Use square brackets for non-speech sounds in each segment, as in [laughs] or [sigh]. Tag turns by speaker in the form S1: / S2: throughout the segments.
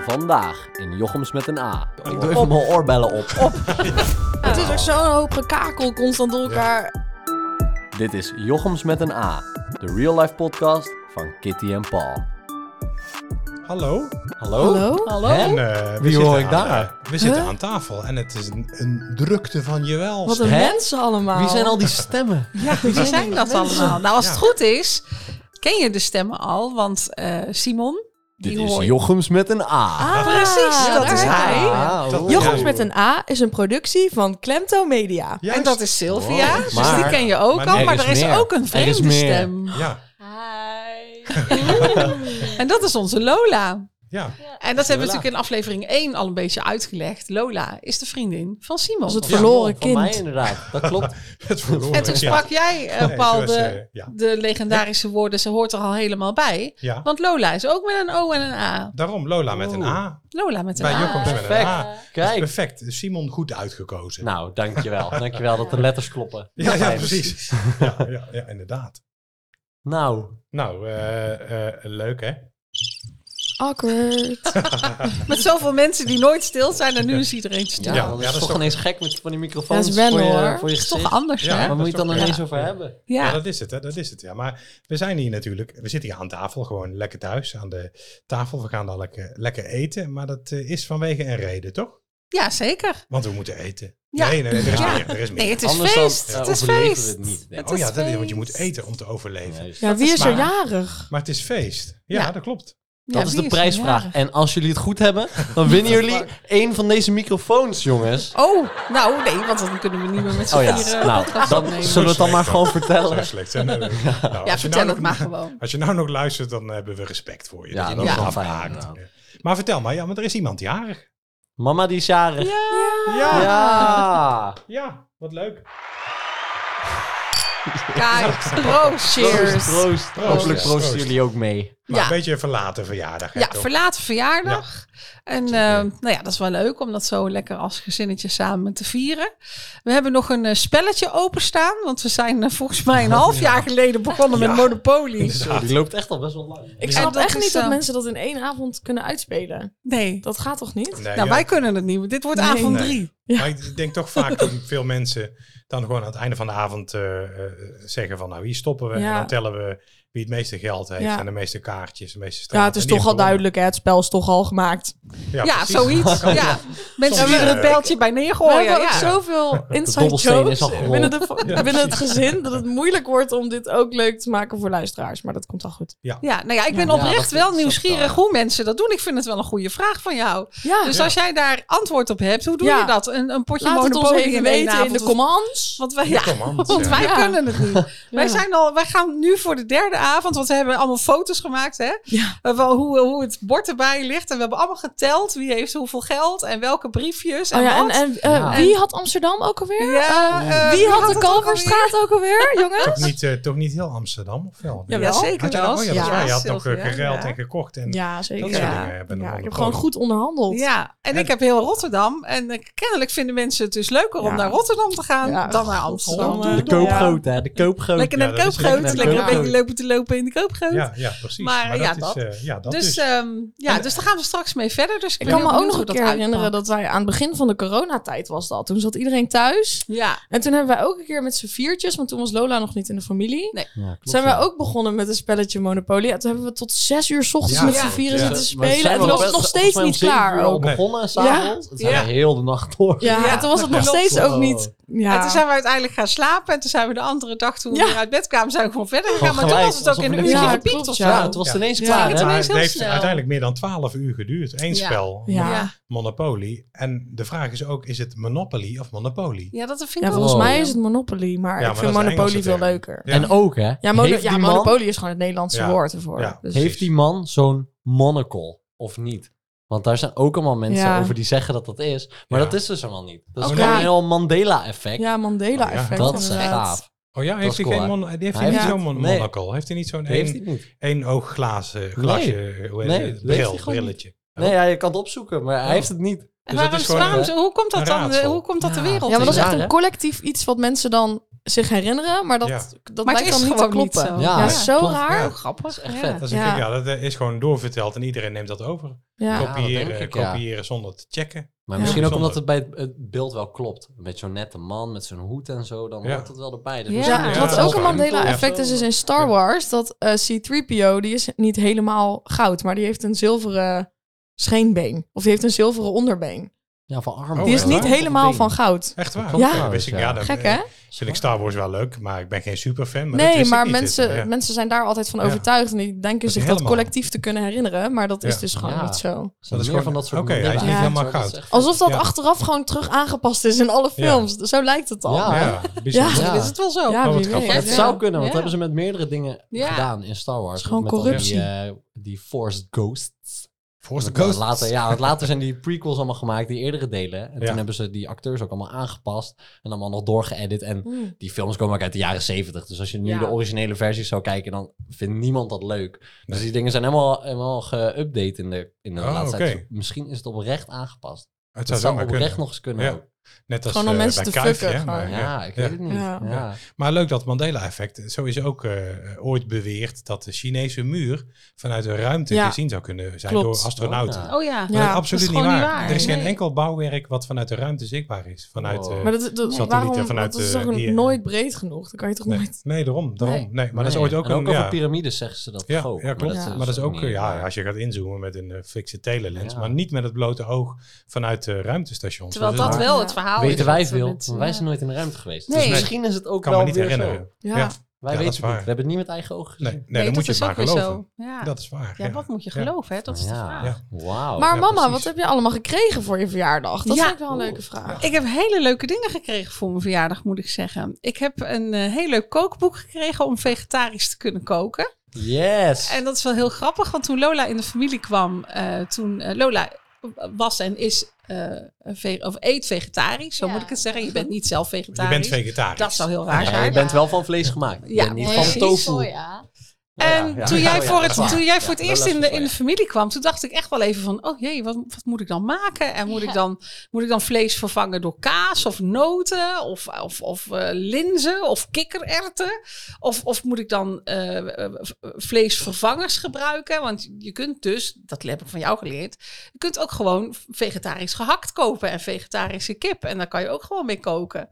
S1: Vandaag in Jochems met een A.
S2: Ik doe even mijn oorbellen op.
S3: Het is ook zo'n hoop gekakel constant door elkaar.
S1: Dit is Jochems met een A, de real life podcast van Kitty en Paul.
S4: Hallo?
S2: Hallo?
S3: Hallo? Hallo?
S2: Hè?
S4: En, eh, we
S2: Wie
S4: zitten
S2: hoor ik
S4: aan-
S2: daar?
S4: we zitten
S3: Huh?
S4: aan tafel en het is een, een drukte van je wel.
S3: Wat een
S2: Hè?
S3: mensen allemaal.
S2: Wie zijn al die stemmen?
S3: Ja, wie zijn dat allemaal? Nou, als het goed is, ken je de stemmen al, want eh, Simon, die
S1: Dit is
S3: hoor je.
S1: Jochems met een A.
S3: Ah, precies,
S5: ja,
S3: dat
S5: daar
S3: is hij.
S2: Ah,
S4: Dat-
S2: oh.
S5: Jochems met een A is een productie van Klemto Media.
S4: Juist.
S3: En dat is Sylvia,
S2: Wow.
S3: dus
S2: Maar-
S3: die ken je ook
S4: maar
S3: al,
S4: er
S3: maar
S2: is
S3: er is
S2: meer.
S3: ook een
S2: Er is
S3: vreemde
S2: meer.
S3: stem.
S4: Ja,
S5: Hi.
S3: En dat is onze Lola.
S4: ja.
S3: En
S2: Lola.
S3: dat hebben we natuurlijk in aflevering 1 al een beetje uitgelegd. Lola is de vriendin van Simon.
S5: Als het
S2: Ja,
S5: verloren
S2: van
S5: kind.
S2: mij inderdaad, dat klopt.
S4: Het verloren.
S3: En toen
S4: ja.
S3: sprak jij, eh,
S4: Nee,
S3: Paul,
S4: het was,
S3: de,
S4: eh, ja.
S3: de legendarische woorden. Ze hoort er al helemaal bij.
S4: ja.
S3: Want Lola is ook met een O en een A.
S4: Daarom Lola met een A.
S3: Lola met een
S4: Bij
S3: A.
S4: Jochems met een
S2: Perfect.
S4: A. [laughs]
S2: Kijk.
S4: Perfect. Simon goed uitgekozen.
S2: Nou, dankjewel. Dankjewel dat de letters kloppen.
S4: ja, ja,
S2: Fijn.
S4: precies. ja, ja, ja, inderdaad.
S2: Nou,
S4: Nou, eh, eh, leuk hè?
S5: Awkward.
S3: Met zoveel mensen die nooit stil zijn en nu is iedereen stil.
S2: ja,
S4: Ja,
S2: dat is
S4: ja, dat is
S2: toch
S4: toch-
S2: ineens gek met van die microfoons
S5: Dat is wennen,
S2: voor,
S4: eh,
S2: je,
S5: hoor.
S2: voor je
S3: Dat is toch
S2: gezicht.
S3: anders,
S4: Ja,
S3: hè?
S2: Waar
S4: Dat
S2: moet
S4: is
S2: je het dan
S4: toch-
S2: ineens
S4: ja.
S2: over hebben?
S4: Ja.
S3: Ja.
S4: dat is het, hè? dat is het. Ja, maar we zijn hier natuurlijk, we zitten hier aan tafel, gewoon lekker thuis aan de tafel. We gaan dadelijk eh, lekker eten, maar dat eh, is vanwege een reden, toch?
S3: ja, zeker.
S4: Want we moeten eten.
S3: Ja.
S4: Nee, nee, nee, er is
S3: Ja.
S4: meer. Er is meer.
S3: Nee, het is
S2: Anders dan,
S3: feest.
S2: eh,
S3: het is
S2: overleven we
S3: feest.
S2: het niet, denk ik.
S3: Het
S4: oh
S3: is
S4: ja, dat is, want je
S3: feest.
S4: moet eten om te overleven.
S2: Nee,
S5: Ja, wie
S4: is
S5: is er
S4: waar.
S5: jarig?
S4: Maar het is feest. Ja,
S3: Ja.
S4: dat klopt.
S3: Ja,
S2: Dat is
S3: wie
S2: de
S3: er
S2: prijsvraag.
S3: jarig?
S2: En als jullie het goed hebben, dan winnen jullie één van deze microfoons, jongens.
S3: Oh, eh, nou nee, want dan kunnen we niet meer met z'n
S2: Oh ja,
S3: vieren
S2: nou,
S3: podcast
S2: dan
S3: opnemen.
S2: Zullen we het dan maar gewoon
S4: Zo
S2: vertellen?
S4: slecht zijn
S3: [laughs]
S4: we. Nou, als
S3: Ja,
S4: je
S3: vertel
S4: nou
S3: het
S4: nog-
S3: maar gewoon.
S4: [laughs] Als je nou nog luistert, dan hebben we respect voor je.
S2: Ja,
S4: dat je
S2: dat
S4: nog
S3: is wel
S2: fijn,
S4: afhaakt.
S2: inderdaad.
S4: Ja. Maar vertel maar, ja, want er is iemand jarig.
S2: Mama die is jarig. Ja.
S4: Ja, ja.
S2: ja.
S4: wat leuk.
S3: Kijk, proost, cheers.
S2: Proost, proost.
S4: Proost.
S2: Hopelijk proosten
S4: Proost.
S2: jullie ook mee.
S4: Maar
S3: Ja.
S4: een beetje een verlaten verjaardag. hè,
S3: Ja,
S4: toch?
S3: verlaten verjaardag. En eh, nou ja, dat is wel leuk om dat zo lekker als gezinnetje samen te vieren. We hebben nog een eh, spelletje openstaan, want we zijn eh, volgens
S4: [laughs]
S3: mij een half jaar geleden begonnen met Monopoly.
S2: Zo, die loopt echt al best wel lang.
S5: Ik
S3: Ja,
S5: snap
S3: dat
S5: echt
S3: is,
S5: niet dat
S3: eh,
S5: mensen dat in één avond kunnen uitspelen.
S3: Nee,
S5: Dat gaat toch niet?
S4: Nee,
S3: nou
S4: ja.
S3: wij kunnen het niet. Dit wordt
S5: Nee.
S3: avond
S4: Nee.
S3: drie.
S4: Maar ik denk toch vaak dat veel mensen dan gewoon aan het einde van de avond eh, eh, zeggen van nou hier stoppen we en
S5: Ja.
S4: dan tellen we wie het meeste geld heeft
S5: Ja.
S4: en de meeste kaartjes, de meeste straten.
S5: Ja, het is
S4: En die
S5: toch al
S4: heeft gewonnen.
S5: duidelijk, hè? het spel is toch al gemaakt.
S3: Ja,
S4: precies.
S3: zoiets. Ja. Mensen
S4: Soms,
S3: die er
S4: eh,
S3: het pijltje bij
S5: We
S3: neergooien.
S5: hebben ook
S3: Oh, Ja.
S5: zoveel inside
S2: dobbelsteen is al
S5: jokes
S2: gerold.
S5: binnen, de,
S4: Ja,
S5: binnen het gezin dat het moeilijk wordt om dit ook leuk te maken voor luisteraars. Maar dat komt al goed.
S3: Ja, nou ja, ik ben
S2: Ja, dat
S3: oprecht
S2: is-
S3: wel
S2: dat is
S3: nieuwsgierig
S2: waar.
S3: hoe mensen dat doen. Ik vind het wel een goede vraag van jou.
S5: Ja,
S3: Dus
S4: Ja.
S3: als jij daar antwoord op hebt, hoe doe
S5: Ja.
S3: je dat? Een, een potje
S5: laat het ons
S3: Monopoly
S5: even
S3: in één
S5: weten in
S3: avond
S5: de
S3: of-
S5: comments.
S3: Want wij, ja,
S4: Kom aan,
S3: want
S4: [laughs] ja.
S3: wij
S5: Ja.
S3: kunnen het niet. Wij, zijn al, wij gaan nu voor de derde avond, want we hebben allemaal foto's gemaakt. Hè?
S5: Ja.
S3: Eh, Wel hoe, hoe het bord erbij ligt. En we hebben allemaal geteld wie heeft hoeveel geld en welke briefjes. En
S5: Oh ja, en,
S3: wat.
S5: en eh,
S2: Ja.
S5: wie had Amsterdam ook alweer?
S3: Ja,
S5: Eh,
S3: eh,
S5: wie had de
S3: het ook alweer?
S5: Kalverstraat ook alweer, jongens?
S4: Toch niet, eh, toch niet heel Amsterdam, of wel?
S5: Ja,
S3: Ja,
S5: wel.
S3: zeker
S4: Had je,
S3: wel.
S4: dat, oh ja, dat is waar. je had nog eh,
S3: Sylvia,
S4: gereld
S3: ja.
S4: en gekocht en
S5: Ja, zeker.
S4: dat
S3: Ja.
S4: soort dingen hebben
S5: Ja, ik heb
S4: monopolie.
S5: gewoon goed onderhandeld.
S3: Ja, en ik heb heel Rotterdam. En eh, kennelijk vinden mensen het dus leuker om
S5: Ja.
S3: naar Rotterdam te gaan
S5: Ja,
S3: dan naar
S5: Rotterdam,
S3: Amsterdam.
S5: eh,
S2: De koopgroot, hè. De koopgroot.
S3: Lekker naar de
S4: Oh, Ja, dat is
S3: koopgroot.
S2: lekker naar de
S3: Lekker een beetje
S2: koopgroot.
S3: lopen te lopen in de koopgroot.
S4: Ja, ja, precies.
S3: Maar, ja,
S4: dat is, eh, ja, dat
S3: dus,
S4: is.
S3: ehm, ja,
S4: En-
S3: dus daar gaan we straks mee verder. Dus ik,
S5: Ik
S3: ben
S5: kan me
S3: heel
S5: ook nog
S3: benieuwd
S5: een
S3: hoe
S5: keer
S3: dat
S5: herinneren
S3: uitpakt.
S5: dat wij aan het begin van de coronatijd was dat. Toen zat iedereen thuis.
S3: Ja,
S5: En toen hebben wij ook een keer met z'n viertjes, want toen was Lola nog niet in de familie.
S2: Ja, klopt,
S5: zijn
S2: ja.
S5: wij ook begonnen met een spelletje Monopoly. En toen hebben we tot zes uur 's ochtends
S4: Ja,
S5: met
S3: ja.
S5: z'n vieren
S4: Ja.
S5: zitten
S2: Maar
S5: spelen.
S2: zijn we
S5: En toen was
S2: wel
S5: het nog
S2: best-
S5: steeds
S2: volgens mij
S5: niet
S2: om zeven
S5: klaar
S2: uur al
S5: ook.
S4: Nee.
S2: begonnen s'avonds. Het zijn
S3: Ja.
S2: we heel de nacht door.
S5: Ja,
S3: Ja.
S5: en toen was het nog
S2: Ja.
S5: steeds
S2: Klopt.
S5: ook niet.
S3: En
S5: Ja,
S3: toen zijn we uiteindelijk gaan slapen. En toen zijn we de andere dag, toen we
S5: Ja.
S3: weer uit bed kwamen, zijn we gewoon verder gegaan.
S2: Gewoon
S3: Maar toen
S2: gelijk,
S3: was het ook
S2: alsof
S3: in
S2: er
S3: een
S2: niks
S3: uurtje
S5: was.
S3: gepiekt
S5: Ja,
S3: of zo.
S2: Ja, het was ineens
S5: Ja.
S2: klaar,
S3: Het
S2: hè.
S3: ineens
S4: maar het
S3: heel
S4: heeft
S3: snel.
S4: uiteindelijk meer dan 12 uur geduurd. Eén
S3: Ja.
S4: spel,
S5: Ja.
S3: Ja.
S4: Monopoly. En de vraag is ook, is het Monopoly of Monopoly?
S3: Ja, dat vind ik
S5: ja,
S3: ook
S5: volgens
S2: Wow.
S5: mij is het Monopoly, maar
S4: Ja,
S5: ik
S4: maar
S5: vind
S4: dat is de
S5: Monopoly
S4: Engelse
S5: veel
S4: term.
S5: leuker.
S4: Ja.
S2: En ook, hè.
S5: Ja, mono-
S2: heeft
S5: ja
S2: die man-
S5: Monopoly is gewoon het Nederlandse
S4: Ja.
S5: woord ervoor.
S4: Ja.
S5: Dus-
S2: Heeft die man zo'n monocle of niet? Want daar zijn ook allemaal mensen
S5: Ja.
S2: over die zeggen dat dat is. Maar
S4: Ja.
S2: dat is dus helemaal niet. Dat is
S4: Ook
S2: gewoon
S5: niet.
S2: een heel Mandela-effect.
S5: Ja,
S4: Oh, ja.
S5: Mandela-effect.
S2: dat is
S5: inderdaad.
S2: gaaf.
S4: Oh ja, heeft
S2: is
S4: hij
S2: cool,
S4: geen
S2: hè?
S4: mon- heeft
S2: Hij
S4: hij niet
S5: heeft-
S4: zo'n mon-
S2: Nee.
S4: monocle? Heeft hij niet zo'n
S2: Die heeft hij
S4: één,
S2: niet.
S4: één oogglazen glasje? hoe heet
S2: Nee,
S4: het?
S2: dat heeft hij
S4: bril,
S2: gewoon niet.
S4: brilletje.
S2: Nee, ja, je kan het opzoeken, maar hij heeft het niet.
S3: En
S5: Oh.
S4: Dus dat
S3: waarom,
S4: is gewoon
S3: waarom-
S2: een-
S3: hoe komt dat
S4: een
S3: dan?
S4: raadsel.
S3: Hoe komt dat de
S2: Ja.
S3: wereld
S5: Ja, maar dat is
S2: Ja,
S5: echt
S2: hè?
S5: een collectief iets wat mensen dan zich herinneren, maar dat,
S4: Ja.
S5: dat
S3: Maar het
S5: lijkt dan
S3: is
S5: niet te
S3: gewoon niet
S5: kloppen.
S3: zo.
S5: ja,
S2: Ja,
S5: zo
S2: klopt.
S5: raar.
S4: Ja.
S5: Ja.
S3: Heel grappig.
S2: Dat is echt
S5: Ja.
S2: vet.
S4: Dat is, een
S5: Ja.
S4: gek, ja, dat eh, is gewoon doorverteld en iedereen neemt dat over.
S2: dat
S4: kopiëren,
S2: denk ik, ja.
S4: kopiëren zonder te checken.
S2: Maar
S5: Ja.
S2: misschien ook
S4: Bijzonder.
S2: omdat het bij het- het beeld wel klopt. Met zo'n nette man, met zo'n hoed en zo, dan
S4: Ja.
S2: hoort het wel erbij. Dus
S3: Ja,
S2: misschien
S5: Ja,
S4: Ja,
S5: wat
S2: het
S4: dat
S5: ook
S4: is
S5: een
S4: waar.
S5: Mandela
S2: Ja.
S5: effect dus is, is in Star Wars dat eh, C-3PO, die is niet helemaal goud, maar die heeft een zilveren scheenbeen. Of die heeft een zilveren onderbeen.
S2: Ja, van arm.
S4: Oh,
S5: Die is
S4: echt
S5: niet
S4: waar?
S5: helemaal van goud.
S4: Echt waar?
S2: Klopt
S5: Ja.
S4: Dat wist ik, ja, dan,
S5: Gek
S4: eh,
S5: hè?
S4: Vind ik Star Wars wel leuk, maar ik ben geen superfan. Maar dat
S5: nee,
S4: wist ik
S5: maar
S4: niet.
S5: mensen,
S4: Dit, eh,
S5: mensen zijn daar altijd van
S4: Ja.
S5: overtuigd. En die denken
S4: Dat
S5: zich dat
S4: helemaal.
S5: collectief te kunnen herinneren. Maar dat is
S4: Ja.
S5: dus gewoon
S2: Ja.
S5: niet zo.
S2: Dat is meer van dat soort
S4: Oké, hij is
S2: Mandela
S5: niet
S2: effecten,
S4: helemaal
S2: hoor. Dat is echt vet.
S5: Alsof dat
S4: Ja.
S5: achteraf gewoon terug aangepast is in alle
S4: Ja.
S5: films. Zo lijkt het al.
S2: Ja.
S5: Ja,
S4: Ja, bijzonder.
S2: Ja.
S3: Misschien is het wel zo.
S4: Oh,
S5: wie
S4: wat grappig.
S5: weet.
S2: Het
S3: Ja.
S2: zou kunnen, want
S3: Ja.
S2: dat hebben ze met meerdere dingen
S3: Ja.
S2: gedaan in Star Wars.
S5: Het is gewoon
S2: Met al
S5: corruptie.
S2: Die, eh, die Forced Ghosts.
S4: Force the
S2: Want, eh,
S4: Ghost.
S2: Later, ja, want later zijn die prequels allemaal gemaakt, die eerdere delen. En
S4: Ja.
S2: toen hebben ze die acteurs ook allemaal aangepast en allemaal nog doorgeëdit. En
S5: Hmm.
S2: die films komen ook uit de jaren zeventig. Dus als je nu
S3: Ja.
S2: de originele versies zou kijken, dan vindt niemand dat leuk. Dus
S4: Nee.
S2: die dingen zijn helemaal, helemaal geüpdate in de, in de
S4: Oh,
S2: laatste
S4: oké.
S2: tijd. Dus Misschien is het oprecht aangepast.
S4: Het
S2: Dat
S4: zou
S2: zou
S4: zomaar
S2: oprecht
S4: kunnen.
S2: nog eens kunnen.
S4: Ja.
S2: ook.
S4: Net als
S5: Gewoon om
S4: eh,
S5: mensen
S4: bij
S5: te
S4: Kuifje,
S5: fucken,
S4: hè, maar,
S5: gewoon.
S4: ja.
S2: Ja, ik
S4: Ja.
S2: weet het niet.
S5: Ja.
S2: Ja.
S4: Maar leuk dat Mandela-effect. Zo is ook eh, ooit beweerd dat de Chinese muur vanuit de ruimte
S5: Ja.
S4: gezien zou kunnen zijn
S5: Klopt.
S4: door astronauten.
S2: Oh, ja.
S3: Oh ja.
S4: Maar dat
S5: Ja,
S4: is absoluut
S3: dat
S4: niet,
S3: is gewoon
S4: waar.
S3: niet waar.
S4: Er is geen
S3: Nee.
S4: enkel bouwwerk wat vanuit de ruimte zichtbaar is. Vanuit,
S2: Wow.
S4: eh,
S5: Maar dat, dat,
S4: Satellieten
S5: waarom,
S4: vanuit,
S5: dat is
S4: eh,
S5: toch
S4: hier.
S5: nooit breed genoeg? Dan kan je toch
S4: nee.
S5: nooit...
S4: nee, daarom. daarom.
S5: Nee.
S4: Nee. maar dat is
S2: Nee.
S4: ooit ook
S2: en
S4: een...
S2: ook over
S4: ja.
S2: piramides zeggen ze dat
S4: Ja,
S2: toch ook.
S4: ja, klopt.
S5: Ja.
S4: maar dat is ook,
S2: niet
S4: ja,
S2: waar.
S4: als je gaat inzoomen met een eh, fikse telelens,
S2: Ja.
S4: maar niet met het blote oog vanuit eh, ruimtestations.
S3: Terwijl
S4: Dus
S3: dat
S4: het-
S3: wel het verhaal is.
S2: Weten wij
S3: dat
S2: het
S3: we
S2: veel,
S3: met-
S2: want wij
S3: ja.
S2: zijn nooit in de ruimte geweest.
S3: Nee.
S2: Dus
S3: Nee.
S2: misschien is het ook
S4: Ik kan
S2: wel
S4: me niet
S2: weer
S4: herinneren.
S2: zo.
S5: Ja,
S4: Ja.
S2: Wij
S4: Ja, dat
S2: weten
S4: is
S2: het niet.
S4: waar.
S2: We hebben het niet met eigen ogen
S4: Nee,
S2: gezien.
S4: nee, dan moet je het
S3: dat is
S4: maar
S3: ook weer
S4: geloven.
S3: zo. Ja.
S4: Dat is waar.
S3: ja, wat moet je geloven, hè? Dat is de vraag.
S4: Ja.
S2: Wauw.
S5: Maar
S4: Ja,
S5: mama,
S4: precies.
S5: wat heb je allemaal gekregen voor je verjaardag? Dat
S3: Ja.
S5: vind ik wel een leuke
S2: Oeh.
S5: vraag.
S3: Ik heb hele leuke dingen gekregen voor mijn verjaardag, moet ik zeggen. Ik heb een eh, heel leuk kookboek gekregen om vegetarisch te kunnen koken.
S2: Yes.
S3: En dat is wel heel grappig, want toen Lola in de familie kwam, eh, toen eh, Lola was en is eh, een ve- of eet vegetarisch, zo
S5: Ja.
S3: moet ik het zeggen. Je bent niet zelf
S4: Je
S3: vegetarisch.
S4: bent vegetarisch.
S3: Dat zou heel raar
S2: Nee,
S3: zijn.
S2: je bent wel van vlees gemaakt. Je
S3: Ja,
S2: bent niet
S3: precies.
S2: van tofu.
S3: En
S2: Ja, ja.
S3: toen jij
S2: Oh ja,
S3: voor
S2: dat is
S3: het,
S2: waar.
S3: toen jij voor het
S2: Ja,
S3: eerst
S2: dat
S3: in
S2: is
S3: de,
S2: waar,
S3: in de
S2: ja.
S3: familie kwam, toen dacht ik echt wel even van, oh jee, wat, wat moet ik dan maken? En moet, ik dan, moet ik dan vlees vervangen door kaas of noten of, of, of eh, linzen of kikkererwten? Of, of moet ik dan eh, eh, v- vleesvervangers gebruiken? Want je kunt dus, dat heb ik van jou geleerd, je kunt ook gewoon vegetarisch gehakt kopen en vegetarische kip. En daar kan je ook gewoon mee koken.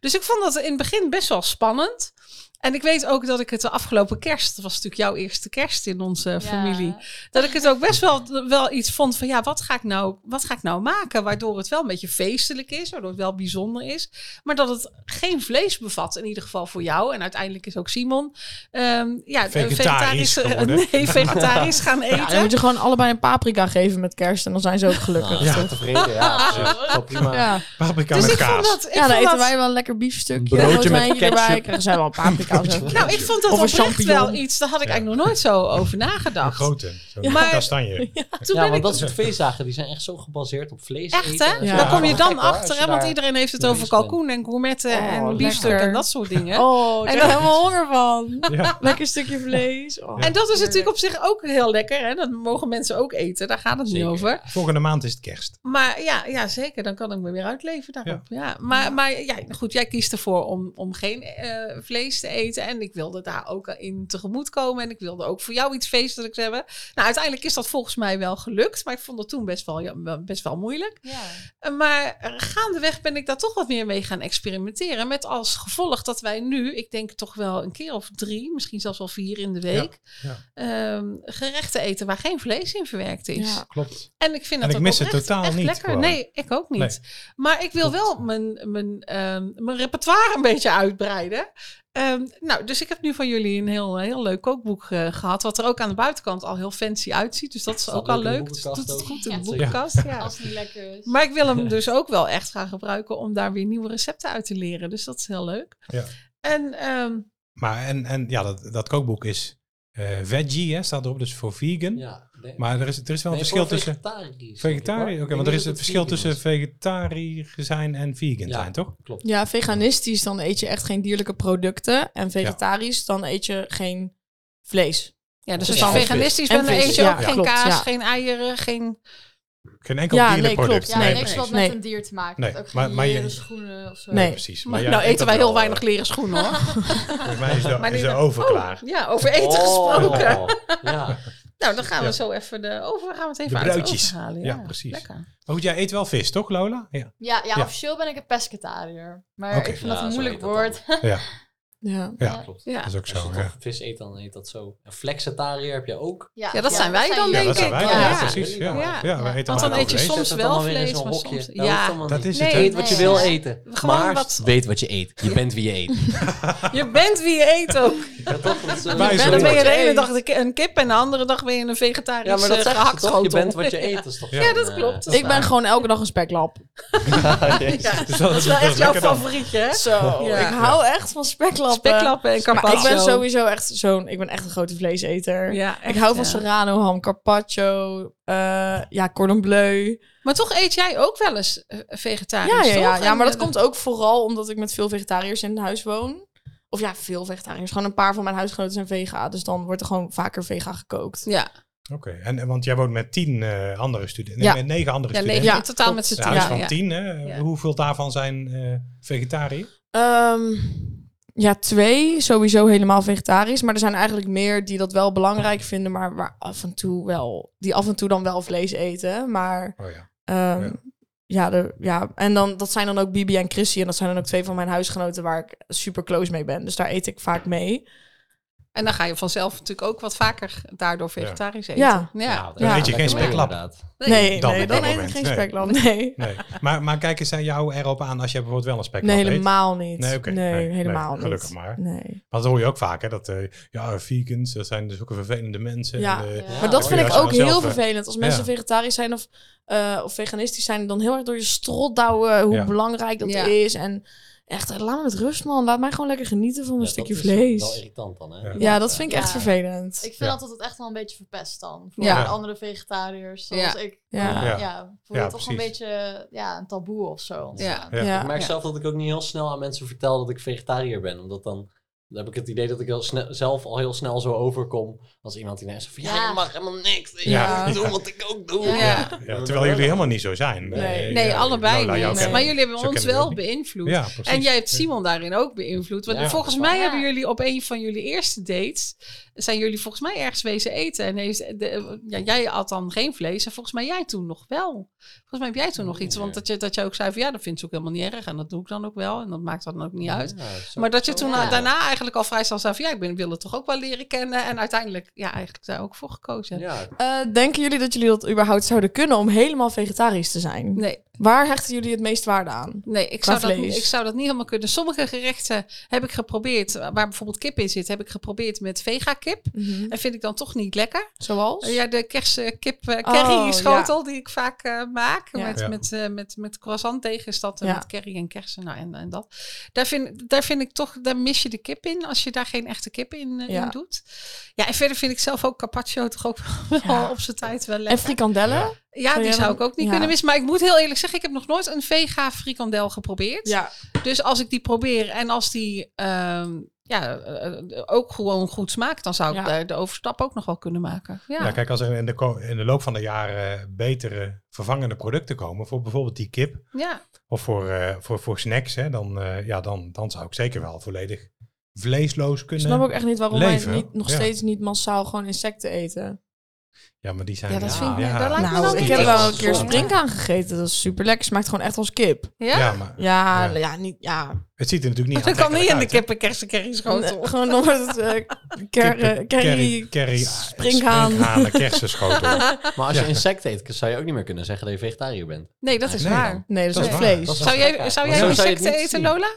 S3: Dus ik vond dat in het begin best wel spannend. En ik weet ook dat ik het de afgelopen kerst, dat was natuurlijk jouw eerste kerst in onze familie, dat ik het ook best wel, wel iets vond van ja, wat ga, ik nou, wat ga ik nou maken? Waardoor het wel een beetje feestelijk is, waardoor het wel bijzonder is, maar dat het geen vlees bevat, in ieder geval voor jou. En uiteindelijk is ook Simon ehm, ja,
S4: Vegetarisch
S3: vegetarisch,
S4: geworden.
S3: [laughs] nee, vegetarisch
S4: [laughs]
S3: gaan eten.
S5: Ja, dan moet je gewoon allebei een paprika geven met kerst. En dan zijn ze ook gelukkig.
S2: Nou,
S4: Ja.
S2: tevreden. Ja, precies. Wel prima.
S5: Ja.
S4: Paprika
S3: dus
S4: met
S3: ik vond
S4: kaas.
S3: dat. Ik
S5: ja, dan
S3: vond
S5: eten
S3: dat,
S5: wij wel een lekker biefstukje.
S2: Een broodje met
S5: rozijntje
S2: ketchup.
S5: erbij. Krijgen zij wel paprika of [laughs] zo.
S3: Nou, ik vond dat
S5: Of een
S3: oprecht
S5: champignon.
S3: wel iets. Daar had ik
S4: Ja.
S3: eigenlijk nog nooit zo over
S4: Een
S3: nagedacht.
S4: grote. Zo'n
S3: Maar-
S4: kastanje.
S3: Toen
S2: ja,
S3: ben
S2: want
S3: ik
S2: dat soort feestdagen die zijn echt zo gebaseerd op vlees.
S3: echt,
S2: eten
S3: hè?
S2: en
S5: Ja.
S2: zo.
S3: Daar kom je dan
S2: Gek, hoor,
S3: achter,
S2: als je
S3: hè? Want
S2: daar-
S3: iedereen heeft het
S2: Ja,
S3: over
S2: die is
S3: kalkoen en gourmetten en
S5: Oh,
S3: biefstuk
S5: lekker.
S3: en dat soort dingen.
S5: Oh, daar
S3: En
S5: heb ik
S3: dan-
S5: helemaal honger van.
S4: Ja.
S5: Lekker stukje vlees. Oh.
S3: En dat is natuurlijk op zich ook heel lekker. Hè? Dat mogen mensen ook eten, daar gaat het
S2: Zeker.
S3: niet over.
S4: Volgende maand is het kerst.
S3: Maar ja, ja, zeker, dan kan ik me weer uitleven daarop. Ja. Maar, maar ja, goed, jij kiest ervoor om, om geen eh, vlees te eten. En ik wilde daar ook in tegemoet komen. En ik wilde ook voor jou iets feestelijks hebben. Nou, uiteindelijk is dat volgens mij wel gelukt. Maar ik vond het toen best wel, ja, best wel moeilijk. Eh, Maar eh, gaandeweg ben ik daar toch wat meer mee gaan experimenteren. Met als gevolg dat wij nu, ik denk toch wel een keer of drie, misschien zelfs wel vier in de week,
S4: Ja,
S3: ehm, gerechten eten waar geen vlees in verwerkt is.
S5: Ja.
S4: Klopt.
S3: En ik vind
S4: En
S3: dat
S4: ik
S3: ook
S4: mis het
S3: oprecht
S4: totaal
S3: echt
S4: niet,
S3: Lekker.
S4: gewoon.
S3: Nee, ik ook niet. Maar ik wil wel mijn, mijn, ehm, mijn repertoire een beetje uitbreiden. Ehm, nou, dus ik heb nu van jullie een heel, heel leuk kookboek eh, gehad. Wat er ook aan de buitenkant al heel fancy uitziet. Dus dat is
S2: Staat
S3: ook al
S2: leuk in de
S3: leuk. Dus het doet
S2: boekenkast ook.
S3: het goed in
S2: Ja,
S3: de
S2: zeker.
S3: boekenkast. Ja.
S6: Als het niet lekker is.
S3: Maar ik wil hem dus ook wel echt gaan gebruiken om daar weer nieuwe recepten uit te leren. Dus dat is heel leuk.
S4: Ja.
S3: En ehm,
S4: Maar en, en ja, dat, dat kookboek is eh, veggie, hè, staat erop, dus voor vegan.
S2: Ja, nee.
S4: Maar er is, er is wel
S2: Nee,
S4: een verschil
S2: voor
S4: tussen...
S2: vegetarisch, denk ik,
S4: Vegetariër,
S2: hoor. Ik
S4: oké, want
S2: denk
S4: er is
S2: dat
S4: het
S2: het
S4: verschil
S2: vegan
S4: tussen
S2: is.
S4: vegetarisch zijn en vegan
S2: Ja.
S4: zijn, toch?
S2: Klopt.
S5: Ja, veganistisch, dan eet je echt geen dierlijke producten. En vegetarisch, dan eet je geen vlees.
S3: ja, dus
S5: Dus
S3: als je
S5: dan
S3: veganistisch
S5: vis.
S3: bent, dan
S5: En
S3: eet
S5: vis,
S3: je
S5: ja,
S3: ook geen
S5: klopt, ja.
S3: kaas, geen eieren, geen
S4: Geen enkel
S5: Ja, nee,
S4: dierenproduct.
S5: klopt.
S6: Ja,
S5: Nee,
S6: niks
S5: precies.
S6: wat
S5: Nee.
S6: met een dier te maken
S4: Nee,
S6: heeft. Ook geen
S4: maar- maar je-
S6: leren schoenen of zo.
S4: Nee,
S5: Nee.
S4: precies. Maar
S3: Maar
S4: jij
S3: nou
S4: vindt
S3: eten
S4: dat
S3: wij heel
S4: wel, eh,
S3: weinig leren schoenen [laughs] hoor.
S4: Volgens mij is de,
S3: Maar
S4: is
S3: nu
S4: de
S3: de-
S4: oven
S3: Oh,
S4: klaar.
S3: Ja, over eten gesproken.
S2: Oh. Ja.
S3: Nou, dan gaan we
S4: Ja.
S3: zo even de over, we gaan het even
S4: De
S3: uit de
S4: bruidjes.
S3: oven halen.
S4: oh, Ja,
S3: Ja,
S4: precies.
S3: Lekker.
S4: Maar goed, jij eet wel vis, toch Lola? Ja.
S6: Ja, ja,
S4: Ja.
S6: officieel ben ik een pescatariër. Maar
S4: Oké.
S6: ik vind dat
S2: Ja,
S6: een
S2: zo
S6: moeilijk
S2: heet dat dan.
S6: woord.
S5: Ja.
S4: Ja.
S6: Ja.
S2: klopt.
S3: Ja.
S4: Dat is ook
S2: Als je
S4: zo.
S2: toch
S4: Ja.
S2: vis eet, dan heet dat zo. Een flexitariër heb je ook.
S6: [laughs] Ja,
S3: Ja, dat zijn wij dan,
S4: ja,
S3: denk
S4: dat zijn
S3: ik.
S4: wij.
S3: Ja.
S4: Ja,
S3: Ja.
S4: precies. Ja.
S3: Ja.
S4: Ja, we eten
S3: Want dan
S4: allemaal
S3: eet je
S4: vlees.
S2: Zet
S3: soms
S2: het
S3: wel
S2: dan weer in
S3: vlees,
S2: zo'n
S3: maar
S2: hokje.
S3: soms-
S2: Dat
S3: ja.
S2: hoeft allemaal
S4: Dat
S2: niet.
S4: is het,
S3: Nee,
S4: hè?
S2: Eet wat je
S6: Nee.
S2: wil eten.
S3: Gewoon
S2: maar
S3: wat-
S2: weet wat je eet. Je bent wie je eet.
S3: Je bent wie je eet [laughs] ook.
S2: [laughs] Ja, toch? Dat is, eh,
S4: Wij
S3: En
S4: Zo
S3: dan ben je
S5: wordt
S3: de
S5: het.
S3: ene dag de ki- een kip en de andere dag ben je een vegetarisch
S2: Ja, maar dat
S3: eh,
S2: zegt ze toch?
S3: gehaktschotel.
S2: Je bent wat je eet. Dat is toch
S4: Ja,
S2: zo'n,
S3: dat
S2: eh,
S3: klopt.
S2: dat is
S5: Ik ben
S2: nou-
S5: gewoon elke dag een speklap.
S4: [laughs]
S3: Ja.
S4: Dus dat
S3: [laughs] Dat is wel echt jouw
S4: lekker dan.
S3: favorietje, hè?
S5: Zo.
S3: Ja.
S5: Ik hou echt van speklappen.
S3: Speklappen en
S5: Maar
S3: carpaccio.
S5: ik ben sowieso echt zo'n... Ik ben echt een grote vleeseter.
S3: Ja,
S5: ik
S3: echt,
S5: hou van
S3: ja.
S5: serrano ham, carpaccio, eh, ja, cordon bleu.
S3: Maar toch eet jij ook wel eens eh, vegetarisch,
S5: Ja, ja, ja,
S3: toch?
S5: ja,
S3: En,
S5: maar
S3: eh,
S5: dat komt ook vooral omdat ik met veel vegetariërs in huis woon. Of ja, veel vegetariërs. Gewoon een paar van mijn huisgenoten zijn vega. Dus dan wordt er gewoon vaker vega gekookt.
S3: Ja,
S4: Oké, en en want jij woont met tien eh, andere studenten.
S5: Ja.
S4: Nee, met negen andere
S3: ja, nee,
S4: studenten.
S5: Ja,
S3: in totaal
S5: klopt.
S3: met z'n
S4: Een
S3: tien.
S4: huis
S5: Ja,
S4: van
S3: ja.
S4: tien. Hè?
S3: Ja.
S4: Hoeveel daarvan zijn eh vegetariër?
S5: Ehm, ja, twee sowieso helemaal vegetarisch. Maar er zijn eigenlijk meer die dat wel belangrijk vinden, maar waar af en toe wel, die af en toe dan wel vlees eten. Maar
S4: Oh ja.
S5: ehm,
S4: Ja.
S5: ja. Ja, de- ja, en dan, dat zijn dan ook Bibi en Chrissy. En dat zijn dan ook twee van mijn huisgenoten waar ik super close mee ben. Dus daar eet ik vaak mee.
S3: En dan ga je vanzelf natuurlijk ook wat vaker daardoor vegetarisch eten.
S5: Ja.
S2: Ja,
S5: Ja.
S4: eet je geen
S2: lekker
S4: speklap.
S2: inderdaad.
S5: Nee,
S4: dan
S5: dan, nee,
S4: op dat
S5: dan eet ik
S4: moment,
S5: geen
S4: nee.
S5: speklap. Nee,
S4: Nee. Maar, maar kijken zij jou erop aan als jij bijvoorbeeld wel een speklap
S5: nee
S4: eet?
S5: helemaal niet.
S4: Nee,
S5: Nee,
S4: oké.
S5: helemaal niet.
S4: Gelukkig maar.
S5: Nee.
S4: Want dat hoor je ook vaak, hè? Dat eh, ja, vegans, dat zijn zulke vervelende mensen.
S5: Ja.
S4: en, eh,
S6: Nou, Ja.
S5: maar dat
S4: oh,
S5: vind
S4: ja,
S5: ik
S4: ze
S5: ook
S4: gaan zelf,
S5: heel
S4: eh,
S5: vervelend. Als mensen
S4: ja.
S5: vegetarisch zijn of, eh, of veganistisch zijn, dan heel erg door je strot douwen eh, hoe
S4: Ja.
S5: belangrijk dat
S3: Ja.
S5: is. En echt, eh, laat me met rust, man. Laat mij gewoon lekker genieten van mijn
S2: Ja,
S5: stukje
S2: dat is Wel
S5: vlees.
S2: irritant dan, hè?
S4: Ja.
S5: Ja, dat vind ik
S6: Ja.
S5: echt vervelend.
S6: Ik vind
S4: Ja.
S6: dat dat het echt wel een beetje verpest dan. Voor
S3: Ja.
S6: andere vegetariërs zoals
S3: Ja.
S6: ik.
S5: Ja.
S6: Ja,
S4: Ja.
S6: voel je
S4: Ja,
S6: toch een
S4: precies.
S6: beetje ja, een taboe of zo ontstaan.
S5: ja.
S2: Ik merk
S3: Ja.
S2: zelf dat ik ook niet heel snel aan mensen vertel dat ik vegetariër ben. Omdat dan, dan heb ik het idee dat ik heel snel, zelf al heel snel zo overkom. Als iemand die ineens zegt van, ja,
S6: Ja.
S2: je mag helemaal niks.
S5: Ja.
S2: Ja. Ik doe wat ik ook doe.
S3: Ja.
S4: Ja, ja, terwijl jullie helemaal niet zo zijn.
S5: Nee.
S4: Eh,
S3: Nee,
S4: ja,
S3: allebei
S4: Lola, jou
S3: niet.
S4: kennen
S3: Maar
S4: we.
S3: jullie hebben
S4: Zo
S3: ons
S4: kennen we
S3: wel
S4: ook niet.
S3: beïnvloed.
S4: Ja, precies.
S3: En jij hebt Simon daarin ook beïnvloed. Want
S2: Ja,
S3: volgens
S2: dat is
S3: mij
S6: waar.
S3: hebben
S6: Ja.
S3: jullie op een van jullie eerste dates... zijn jullie volgens mij ergens wezen eten. En heeft de, ja, jij at dan geen vlees. En volgens mij jij toen nog wel. Volgens mij heb jij toen nog iets. Want dat je, dat je ook zei van... ja, dat vindt ze ook helemaal niet erg. En dat doe ik dan ook wel. En dat maakt dan ook niet uit.
S2: Ja, zo-
S3: Maar dat je toen
S6: ja.
S3: al- daarna eigenlijk al vrij snel zei van... ja, ik ben, wil het toch ook wel leren kennen. En uiteindelijk ja, eigenlijk daar ook voor gekozen hebt.
S2: Ja,
S5: Eh, denken jullie dat jullie dat überhaupt zouden kunnen om helemaal vegetarisch te zijn?
S3: Nee,
S5: Waar hechten jullie het meest waarde aan?
S3: Nee, ik
S5: Qua
S3: zou, dat,
S5: vlees.
S3: ik zou dat niet helemaal kunnen. Sommige gerechten heb ik geprobeerd, waar bijvoorbeeld kip in zit, heb ik geprobeerd met vega-kip. En vind ik dan toch niet lekker.
S5: Zoals?
S3: Eh, Mhm. Ja, de kersenkip eh
S5: Oh,
S3: curry-schotel die ik vaak eh, maak.
S5: Ja.
S3: Met,
S4: Ja.
S3: Met, eh, met, met croissant tegen is dat. En
S5: Ja.
S3: met curry en kersen nou, en, en dat. Daar vind, daar vind ik toch, daar mis je de kip in. Als je daar geen echte kip in, eh,
S5: Ja.
S3: in doet. Ja, en verder vind ik zelf ook carpaccio toch ook [laughs] wel
S5: Ja.
S3: op zijn tijd wel lekker.
S5: En frikandellen?
S4: Ja.
S3: ja,
S5: Zou
S3: die
S5: jij
S3: zou
S5: dan-
S3: ik ook niet
S5: ja.
S3: kunnen missen. Maar ik moet heel eerlijk zeggen, ik heb nog nooit een vega frikandel geprobeerd. Dus als ik die probeer en als die ehm, ja, eh, eh, ook gewoon goed smaakt, dan zou ik
S5: Ja.
S3: daar de overstap ook nog wel kunnen maken. Ja,
S4: Ja, kijk, als er in de, ko- in de loop van de jaren eh, betere vervangende producten komen, voor bijvoorbeeld die kip
S3: ja.
S4: of voor, eh, voor, voor snacks, hè, dan, eh, ja, dan, dan zou ik zeker wel volledig vleesloos
S5: Ik
S4: kunnen.
S5: snap ook echt niet waarom
S4: Leven,
S5: wij niet, nog
S4: ja.
S5: steeds niet massaal gewoon insecten eten.
S4: Ja, maar die zijn.
S3: Ja, dat vind ik- dat lijkt me
S5: Nou,
S3: dan
S5: ik
S3: weer
S5: heb
S3: echt
S5: wel een keer
S2: zonde.
S5: springkaan gegeten. Dat is super lekker. Smaakt gewoon echt als kip.
S3: ja?
S4: Ja, maar
S5: Ja,
S4: Ja.
S5: ja, niet, ja.
S4: het ziet er natuurlijk niet
S3: [laughs] dat kan niet in de
S4: aantrekkelijk uit,
S3: kippen kersenkerry schotel.
S5: Nee, gewoon nog het [laughs] eh ker,
S4: hè.
S5: eh,
S4: Kippen, curry,
S5: curry.
S4: curry,
S5: springhaan.
S4: ah, springhaan, kersenschotel.
S5: [laughs]
S2: Maar als je
S4: Ja.
S2: insecten eet, zou je ook niet meer kunnen zeggen dat je vegetariër bent.
S3: Nee, dat is
S4: Nee,
S3: waar.
S4: dan.
S5: Nee, dat is
S4: Dat
S5: ook
S4: is waar.
S5: vlees.
S4: Dat is-
S3: Zou jij, zou jij
S2: Zo zou je het
S3: insecten
S2: niet
S3: eten,
S2: zien.
S3: Lola?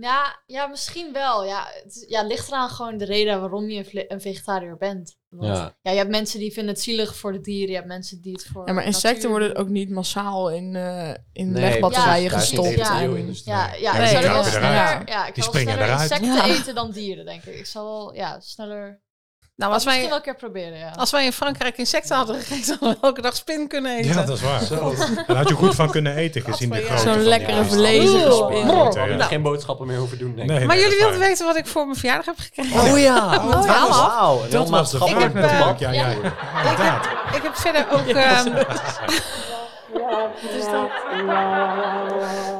S6: Ja, ja, misschien wel. Ja, het is- ja, ligt eraan gewoon de reden waarom je een vle- een vegetariër bent. Want, ja.
S2: Ja.
S6: je hebt mensen die vinden het zielig voor de dieren. Je hebt mensen die het voor
S5: Ja, maar
S6: de
S5: insecten
S6: natuur
S5: worden
S6: doen.
S5: ook niet massaal in, eh in
S2: Nee,
S5: legbatterijen
S6: precies. Daar
S5: gestopt.
S6: is niet
S5: en-
S2: heel industrie.
S6: Ja, ja,
S5: Nee,
S6: ik zou
S5: die
S6: wel
S5: knappen
S6: sneller,
S5: eruit.
S6: ja, ik
S4: Die
S6: zou wel
S4: springen
S6: sneller
S4: eruit.
S6: insecten
S5: Ja.
S6: eten dan dieren, denk ik. Ik zal wel ja, sneller...
S3: Nou, als
S6: Misschien
S3: wij,
S6: wel een keer proberen, ja.
S3: als wij in Frankrijk insecten hadden gegeten, hadden we elke dag spin kunnen eten.
S4: Ja, dat is waar. Daar had je goed van kunnen eten, gezien de
S3: Gadver, ja.
S4: grootte
S5: Zo'n
S4: van die
S5: lekkere
S4: beesten.
S5: verlezen
S3: Oeh.
S5: gespin.
S4: Ja.
S2: We hadden
S4: Nou.
S2: geen boodschappen meer hoeven doen, denk ik.
S4: Nee,
S3: maar
S4: nee,
S3: jullie
S4: dat
S3: wilden
S4: is waar.
S3: weten wat ik voor mijn verjaardag heb gekregen.
S2: Oh ja,
S3: het verhaal af.
S2: Wauw, een heel
S4: Dat was de
S2: maatschappelijk
S4: vraag
S3: Ik heb, eh,
S4: natuurlijk.
S2: debat.
S4: Ja, ja,
S6: ja.
S4: Oh, inderdaad.
S3: Ik heb verder ook... ehm,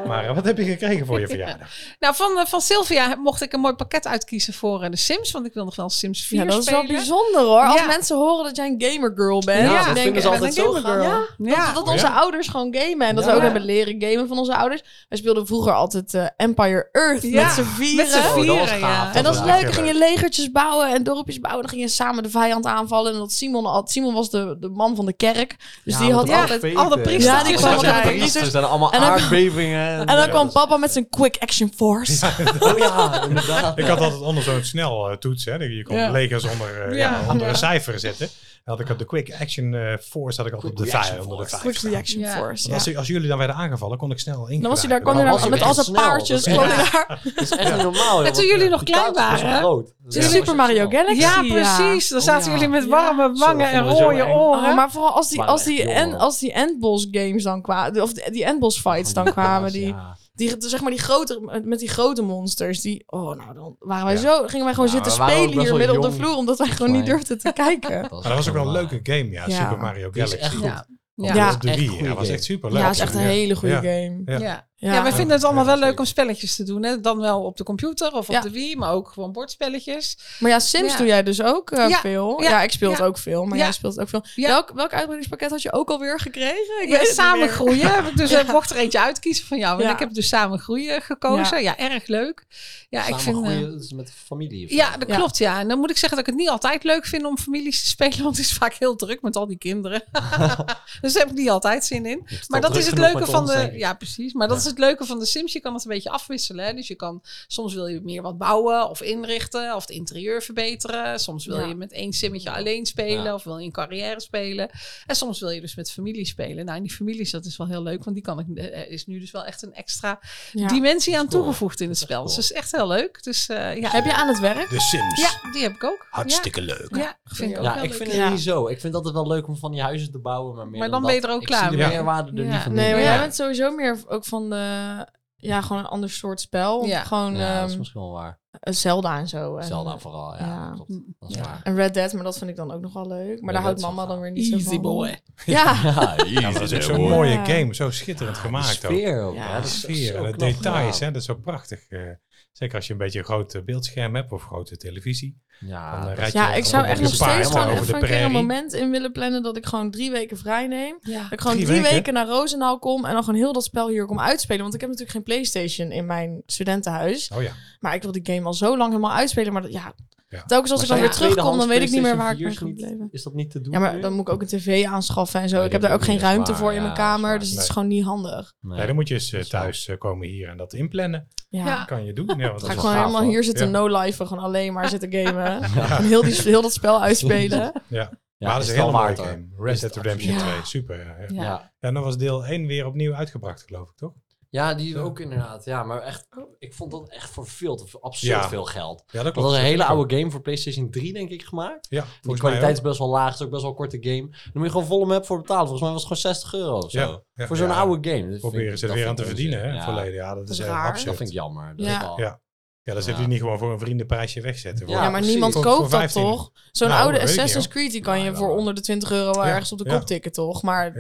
S4: Maar eh, wat heb je gekregen voor je verjaardag?
S3: nou, van, eh, van Sylvia heb- mocht ik een mooi pakket uitkiezen voor eh, de Sims. Want ik wil nog wel Sims 4
S5: Ja, dat is
S3: spelen.
S5: wel bijzonder hoor. Als
S3: Ja.
S5: mensen horen dat jij een gamergirl bent.
S3: Ja,
S5: dan
S3: dat
S5: denken,
S2: vinden ze
S5: ik ben
S2: altijd zo
S5: een gamergirl.
S3: gaaf. Ja.
S5: Dat, dat onze
S4: Ja.
S5: ouders gewoon gamen. En dat we
S2: Ja.
S5: ook hebben leren gamen van onze ouders. Wij speelden vroeger altijd eh, Empire Earth
S3: Ja,
S5: met z'n
S3: Met
S2: Oh,
S5: vieren.
S3: z'n
S2: dat was
S3: vieren,
S2: gaaf.
S3: ja.
S5: en dat is
S4: Ja,
S5: leuk.
S4: heel
S5: Dan ging je legertjes bouwen en dorpjes bouwen. Dan ging je samen de vijand aanvallen. En dat Simon had. Simon was de, de man van de kerk. Dus die had
S3: ja,
S5: altijd.
S3: alle priesters
S5: Ja, die kwamen
S2: allemaal
S5: erbij.
S2: priesters en allemaal
S5: En dan-
S2: aardbevingen.
S5: En dan kwam papa met zijn Quick Action Force.
S2: Oh ja, inderdaad.
S4: Ik had altijd onder zo'n snel eh, toets. Hè. Je kon
S5: Ja.
S4: legers onder, eh,
S3: Ja.
S4: ja, onder
S5: Ja.
S4: een cijfer zetten. Dan had ik op de quick action eh, force had ik altijd op de
S2: Quick action
S4: vijf. Onder de
S2: force.
S4: vijf
S5: Quick
S4: staan.
S5: Reaction
S3: Ja.
S5: Force.
S4: Want
S5: Ja.
S4: Als, als jullie dan werden aangevallen, kon ik snel in.
S5: Dan was hij daar, kon
S2: Dan
S5: hij
S2: was
S5: daar
S2: hij
S5: met
S2: weer
S5: al zijn
S2: snel.
S5: paardjes.
S2: Dat is
S5: Kon hij daar.
S2: Dat is echt niet normaal. joh,
S3: En toen
S2: want
S3: jullie
S2: de
S3: nog klein
S2: dictator was zo
S3: waren.
S2: groot.
S5: De Dus Super Mario Galaxy.
S3: Ja, precies. Dan
S2: Oh,
S3: zaten
S2: ja.
S3: jullie met warme wangen en
S2: vonden we zo
S3: rode
S2: eng.
S3: oren.
S5: Oh, maar vooral als die,
S2: Maar
S5: als
S2: echt,
S5: die,
S2: jongen.
S5: en, als die endboss games dan kwamen, of die, die endboss fights dan kwamen,
S2: [laughs]
S5: die,
S2: Ja.
S5: die, zeg maar die grote, met- met die grote monsters, die, oh nou, dan waren wij
S4: Ja.
S5: zo, gingen wij gewoon
S2: Ja,
S5: zitten
S2: we waren ook
S5: spelen
S2: best wel
S5: hier midden op de
S2: jong,
S5: vloer, omdat wij gewoon niet
S2: mij.
S5: durfden te
S2: [laughs]
S5: kijken.
S4: Maar dat was ook wel
S2: eh,
S4: een leuke game, ja.
S5: Ja.
S4: Super Mario
S2: Die is
S4: Galaxy.
S2: echt goed.
S3: Ja.
S5: Ja.
S4: Ja,
S3: Ja.
S4: dat was
S2: Echt
S4: drie.
S2: goeie
S4: Ja, dat was
S2: game.
S4: echt super leuk.
S5: Ja, is echt een hele goede game.
S4: Ja.
S3: Ja.
S5: Ja.
S3: Ja, wij vinden het allemaal
S4: Ja,
S3: wel
S4: zeker.
S3: leuk om spelletjes te doen. Hè? Dan wel op de computer of op
S5: Ja.
S3: de Wii, maar ook gewoon bordspelletjes.
S5: Maar ja, Sims
S3: Ja.
S5: doe jij dus ook eh,
S3: Ja.
S5: veel.
S3: Ja.
S5: Ja, ik speel het
S3: Ja.
S5: ook veel, maar
S3: Ja.
S5: jij speelt het ook veel.
S3: Ja.
S5: Welk, welk uitbreidingspakket had je ook alweer gekregen? Ik
S3: Ja,
S5: weet het niet
S3: samen
S5: meer.
S3: groeien. Heb ik dus ik mocht er eentje uitkiezen van jou. En
S5: Ja.
S3: ik heb dus samen groeien gekozen. Ja, erg leuk. Ja, ik vind. eh,
S2: dat is met de familie. of zo.
S3: ja, dat
S5: Ja.
S3: klopt. Ja, en dan moet ik zeggen dat ik het niet altijd leuk vind om families te spelen, want het is vaak heel druk met al die kinderen. dus daar heb ik niet altijd zin in.
S2: Het
S3: Maar
S2: al
S3: dat is
S2: druk genoeg
S3: het leuke
S2: met
S3: van
S2: ons,
S3: de.
S2: denk ik.
S3: Ja, precies. Maar dat
S2: Ja.
S3: is het leuke van de Sims. Je kan het een beetje afwisselen. Hè? Dus je kan. Soms wil je meer wat bouwen of inrichten. Of het interieur verbeteren. Soms wil
S5: Ja.
S3: je met één simmetje alleen spelen.
S2: Ja.
S3: Of wil je een carrière spelen. En soms wil je dus met familie spelen. Nou, en die families, dat is wel heel leuk. Want die kan ik, eh, is nu dus wel echt een extra
S5: Ja.
S3: dimensie aan
S2: cool.
S3: toegevoegd in het
S2: Dat is
S3: spel.
S2: echt
S3: Dus dat is echt heel leuk. Dus eh, ja.
S5: Heb je aan het werk?
S4: De Sims.
S3: ja, die heb ik ook.
S4: Hartstikke leuk.
S3: Ja, ja vind ik ook
S2: Ja,
S3: wel
S2: ik
S3: leuk.
S2: vind
S5: Ja.
S2: het niet zo. Ik vind het altijd wel leuk om van je huizen te bouwen. Maar, meer
S3: Maar dan ben je
S2: dat-
S3: er ook
S2: ik
S3: klaar
S2: zie
S4: mee.
S2: de meerwaarde er
S3: Ja.
S2: niet van.
S5: Nee, maar
S2: doen.
S5: jij
S2: Ja.
S5: bent sowieso meer ook van de... Ja, gewoon een ander soort spel.
S3: Ja.
S5: Gewoon
S2: Ja, dat
S5: ehm,
S2: is misschien wel waar.
S5: Zelda en zo. En,
S2: Zelda vooral, ja.
S5: ja.
S2: Klopt. Dat is
S3: eh, Ja.
S2: waar.
S5: En Red Dead, maar dat vind ik dan ook nog wel leuk. Maar
S2: Red
S5: daar houdt
S2: Dead is
S5: mama
S2: wel
S5: dan weer niet zo
S3: Easy
S5: van.
S3: boy.
S2: [laughs]
S5: Ja.
S2: Ja,
S4: Ja, dat is echt
S2: jezus,
S4: zo'n
S2: hoor.
S4: mooie
S5: Ja.
S4: game. Zo schitterend
S2: Ja,
S4: gemaakt
S2: die
S4: ook.
S2: Ah, sfeer ook.
S5: Ja,
S2: hè.
S4: Ja,
S2: Dat
S4: de
S2: is
S4: sfeer
S2: zo
S4: en de
S2: knap
S4: details,
S2: gedaan.
S4: hè, dat is zo prachtig. eh. zeker als je een beetje een groot eh, beeldscherm hebt of grote televisie. Dan, eh,
S2: Ja, dat-
S4: rijd je
S5: Ja, ik zou
S4: op
S5: echt
S4: een
S5: nog
S4: paard
S5: steeds gewoon
S4: over de
S5: even een keer een
S4: prairie.
S5: moment in willen plannen dat ik gewoon drie weken vrij neem.
S3: Ja.
S5: Dat ik gewoon
S4: Drie
S5: drie,
S4: weken?
S5: weken? naar Roosendaal kom en dan gewoon heel dat spel hier kom uitspelen. Want ik heb natuurlijk geen Playstation in mijn studentenhuis.
S4: Oh ja,
S5: Maar ik wil die game al zo lang helemaal uitspelen. Maar dat, ja,
S4: Ja.
S5: telkens als
S2: Maar
S5: ik dan
S2: zijn
S5: weer
S2: de
S5: terugkom, dan
S2: tweedehands
S5: weet ik niet meer waar ik ben
S2: PlayStation 4's
S5: gebleven.
S2: niet- Is dat niet te doen?
S5: Ja, maar
S2: nu?
S5: dan moet ik ook een tv aanschaffen en zo.
S2: Nee,
S5: ik
S2: dat
S5: heb daar ook
S2: doe ik
S5: geen
S2: niet,
S5: ruimte
S2: maar
S5: voor in
S2: ja,
S5: mijn
S2: dat is waar.
S5: kamer. Dus het is
S4: Nee.
S5: gewoon niet handig.
S2: Nee.
S4: Nee, dan moet je eens eh,
S2: Dat is wel-
S4: thuis eh, komen hier en dat inplannen.
S5: Ja.
S3: Ja.
S4: Kan je doen. Ja, want
S5: Ga
S4: dat
S5: ik
S4: is-
S2: wel
S5: gewoon
S2: gaaf,
S5: helemaal
S2: hoor.
S5: hier zitten
S4: Ja.
S5: no-lifen. Gewoon alleen maar zitten gamen.
S2: Ja.
S5: En heel, die, heel dat spel uitspelen.
S4: ja.
S2: Ja,
S4: [laughs] maar dat is een
S2: wel
S4: hele mooie
S2: waard, hoor.
S4: game.
S2: Is
S4: Red
S2: het
S4: Dead Redemption
S5: absoluut.
S4: 2, super. Ja, ja.
S3: Ja.
S2: Ja.
S4: En dan was deel 1 weer opnieuw uitgebracht, geloof ik, toch?
S2: ja, die ook inderdaad. Ja, maar echt,
S5: Oh.
S2: ik vond dat echt voor veel, te- voor absurd
S4: Ja.
S2: veel geld.
S4: Ja, dat
S2: Dat
S4: klopt.
S2: was een hele oude game voor PlayStation 3, denk ik, gemaakt.
S4: Ja,
S2: De
S4: volgens mij
S2: kwaliteit is
S4: ook.
S2: best wel laag, is ook best wel een korte game. Daar moet je gewoon volle map voor betalen. Volgens mij was het gewoon 60 euro of zo.
S4: Ja, ja,
S2: voor zo'n
S4: ja.
S2: oude game. Dat vind
S4: Proberen
S2: ik-
S4: ze er
S2: dat
S4: weer aan
S2: vind
S4: te
S2: ik
S4: verdienen,
S2: onzin.
S4: hè,
S2: Ja.
S4: verleden. Ja, dat is
S5: Dat is
S4: heel
S5: raar.
S4: absurd.
S2: Dat vind ik jammer. Dat
S5: Ja.
S2: wel.
S4: Ja. Ja, dat zullen
S2: Ja.
S4: die niet gewoon voor een vriendenprijsje wegzetten.
S2: Ja,
S5: Ja, maar
S2: precies.
S5: niemand
S4: Voor-
S5: koopt
S4: voor
S5: dat
S4: 15.
S5: toch? Zo'n
S4: Nou,
S5: oude
S4: dat weet ik
S5: Assassin's
S4: niet, Nou,
S5: Creed die kan
S2: Ja,
S5: je
S2: ja,
S5: voor
S2: wel.
S5: onder de 20 euro wel
S4: Ja.
S5: ergens op de
S4: Ja.
S5: kop tikken, toch? Maar het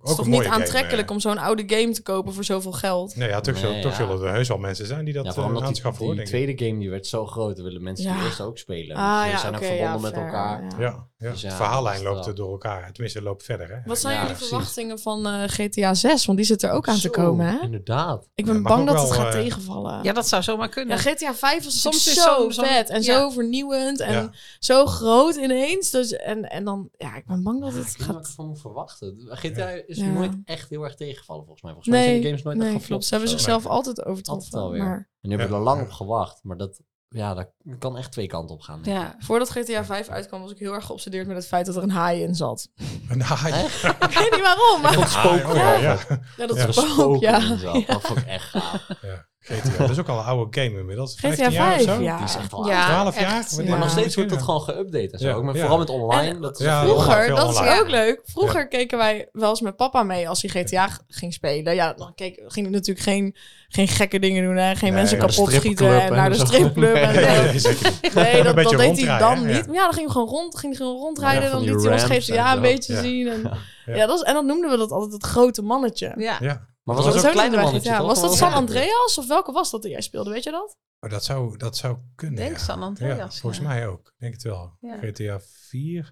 S4: Ook
S5: is
S4: een
S5: toch
S4: mooie
S5: niet
S4: game,
S5: aantrekkelijk
S4: eh.
S5: om zo'n oude game te kopen voor zoveel geld?
S4: Nee, ja, toch,
S2: Nee,
S4: zullen, toch
S2: ja.
S4: zullen er heus wel mensen zijn die dat
S2: Ja,
S4: eh,
S2: vooral omdat die,
S4: aanschaffen, hoor,
S2: die
S4: denk ik.
S2: tweede game die werd zo groot, dan willen mensen die
S5: Ja.
S2: eerste ook spelen.
S5: Ah
S2: Dus
S5: ja,
S2: ze zijn
S5: oké.
S2: ook
S5: ja,
S2: verbonden met
S5: fair,
S2: elkaar.
S5: ja.
S4: Ja, ja.
S2: Dus ja,
S4: het verhaallijn
S2: dat is
S4: loopt
S2: wel-
S4: er door elkaar. Tenminste, het loopt verder, hè.
S5: Wat zijn
S2: Ja,
S5: jullie
S2: precies.
S5: verwachtingen van eh, GTA 6? Want die zit er ook aan te
S2: Zo,
S5: komen, hè?
S2: Inderdaad.
S5: Ik
S4: Ja,
S5: ben
S4: mag ook
S5: bang dat
S4: wel,
S5: het gaat
S4: eh,
S5: tegenvallen.
S3: Ja, dat zou zomaar kunnen.
S5: Ja, GTA 5 was
S3: Soms
S5: soms
S3: is
S5: zo
S3: zo'n- zo'n-
S5: vet en
S3: ja.
S5: zo vernieuwend en
S4: Ja.
S5: zo groot ineens. Dus en, en dan, ja, ik ben bang dat
S2: Ja,
S5: het
S2: Ah, ik weet niet wat
S5: gaat.
S2: ik van moet verwachten. GTA is
S5: Ja.
S2: nooit echt heel erg tegengevallen, volgens mij. Volgens mij zijn de games nooit echt
S5: nee,
S2: geflopt
S5: klopt. Ze hebben
S2: of zo.
S5: zichzelf altijd overtroffen.
S2: Altijd alweer.
S5: maar
S2: En nu hebben we
S4: Ja.
S2: er lang op gewacht. Maar dat, ja, dat kan echt twee kanten op gaan. denk ik.
S3: Ja.
S5: voordat GTA 5 uitkwam, was ik heel erg geobsedeerd met het feit dat er een haai in zat. [laughs]
S4: [laughs] Een haai.
S2: Hè?
S5: ik weet niet waarom, maar
S2: Ik vond
S4: Een haai,
S2: spook
S4: [laughs] oh ja,
S2: wel
S4: ja.
S2: vet.
S5: ja, dat
S4: Ja,
S5: is
S2: Gesproken
S5: ook, ja.
S2: en zo. Dat vond ik echt gaaf.
S4: Ja. GTA. Dat is ook al een oude game inmiddels.
S5: GTA
S4: 15 jaar of
S5: 5,
S4: zo?
S5: ja.
S2: Die is echt al
S3: Ja,
S2: oud.
S4: 12
S3: echt,
S4: jaar?
S5: ja.
S4: Wanneer
S2: Maar nog
S4: was
S2: steeds wordt dat
S4: dat
S2: gewoon geüpdate en zo.
S4: Ja,
S2: ook, maar
S4: ja.
S2: Vooral met online.
S5: En-
S2: dat is
S4: Ja,
S2: veel-
S4: online,
S5: Vroeger,
S4: veel
S5: dat is
S4: online.
S5: ook leuk. Vroeger keken wij wel eens met papa mee als hij GTA g- ging spelen. Ja, dan keek, ging hij natuurlijk geen, geen gekke dingen doen. Hè? Geen
S4: Nee,
S5: mensen
S4: naar de
S5: kapot schieten
S2: stripclub
S5: en
S2: en
S5: naar de
S2: zo.
S5: stripclub. en zo.
S4: [laughs] Nee, nee, zeker niet.
S5: Nee, dat, dat
S4: beetje
S5: deed hij
S4: ronddraaien,
S5: dan
S4: hè?
S5: niet. Maar ja, dan ging hij gewoon, rond, ging hij gewoon rondrijden.
S2: Ja,
S5: en
S2: van
S5: dan
S2: die
S5: liet hij ons
S2: ramps en
S5: GTA
S2: zo.
S5: een beetje
S4: Ja.
S5: zien. En,
S4: Ja.
S5: ja. dat is, en dan noemden we dat altijd het grote mannetje.
S3: Ja.
S4: Ja.
S2: Maar was
S4: Dat
S2: dat
S4: was
S2: ook een kleine
S5: bij
S2: mannetje?
S5: GTA.
S2: toch?
S5: Was dat
S2: Gewoon
S5: San
S2: een-
S5: Andreas of welke was dat die jij speelde? Weet je dat?
S4: Oh, dat, zou, dat zou kunnen.
S3: Ik denk
S4: ja.
S3: San Andreas,
S4: Ja,
S3: ja.
S4: volgens mij ook. Ik denk het wel.
S3: Ja.
S4: GTA 4.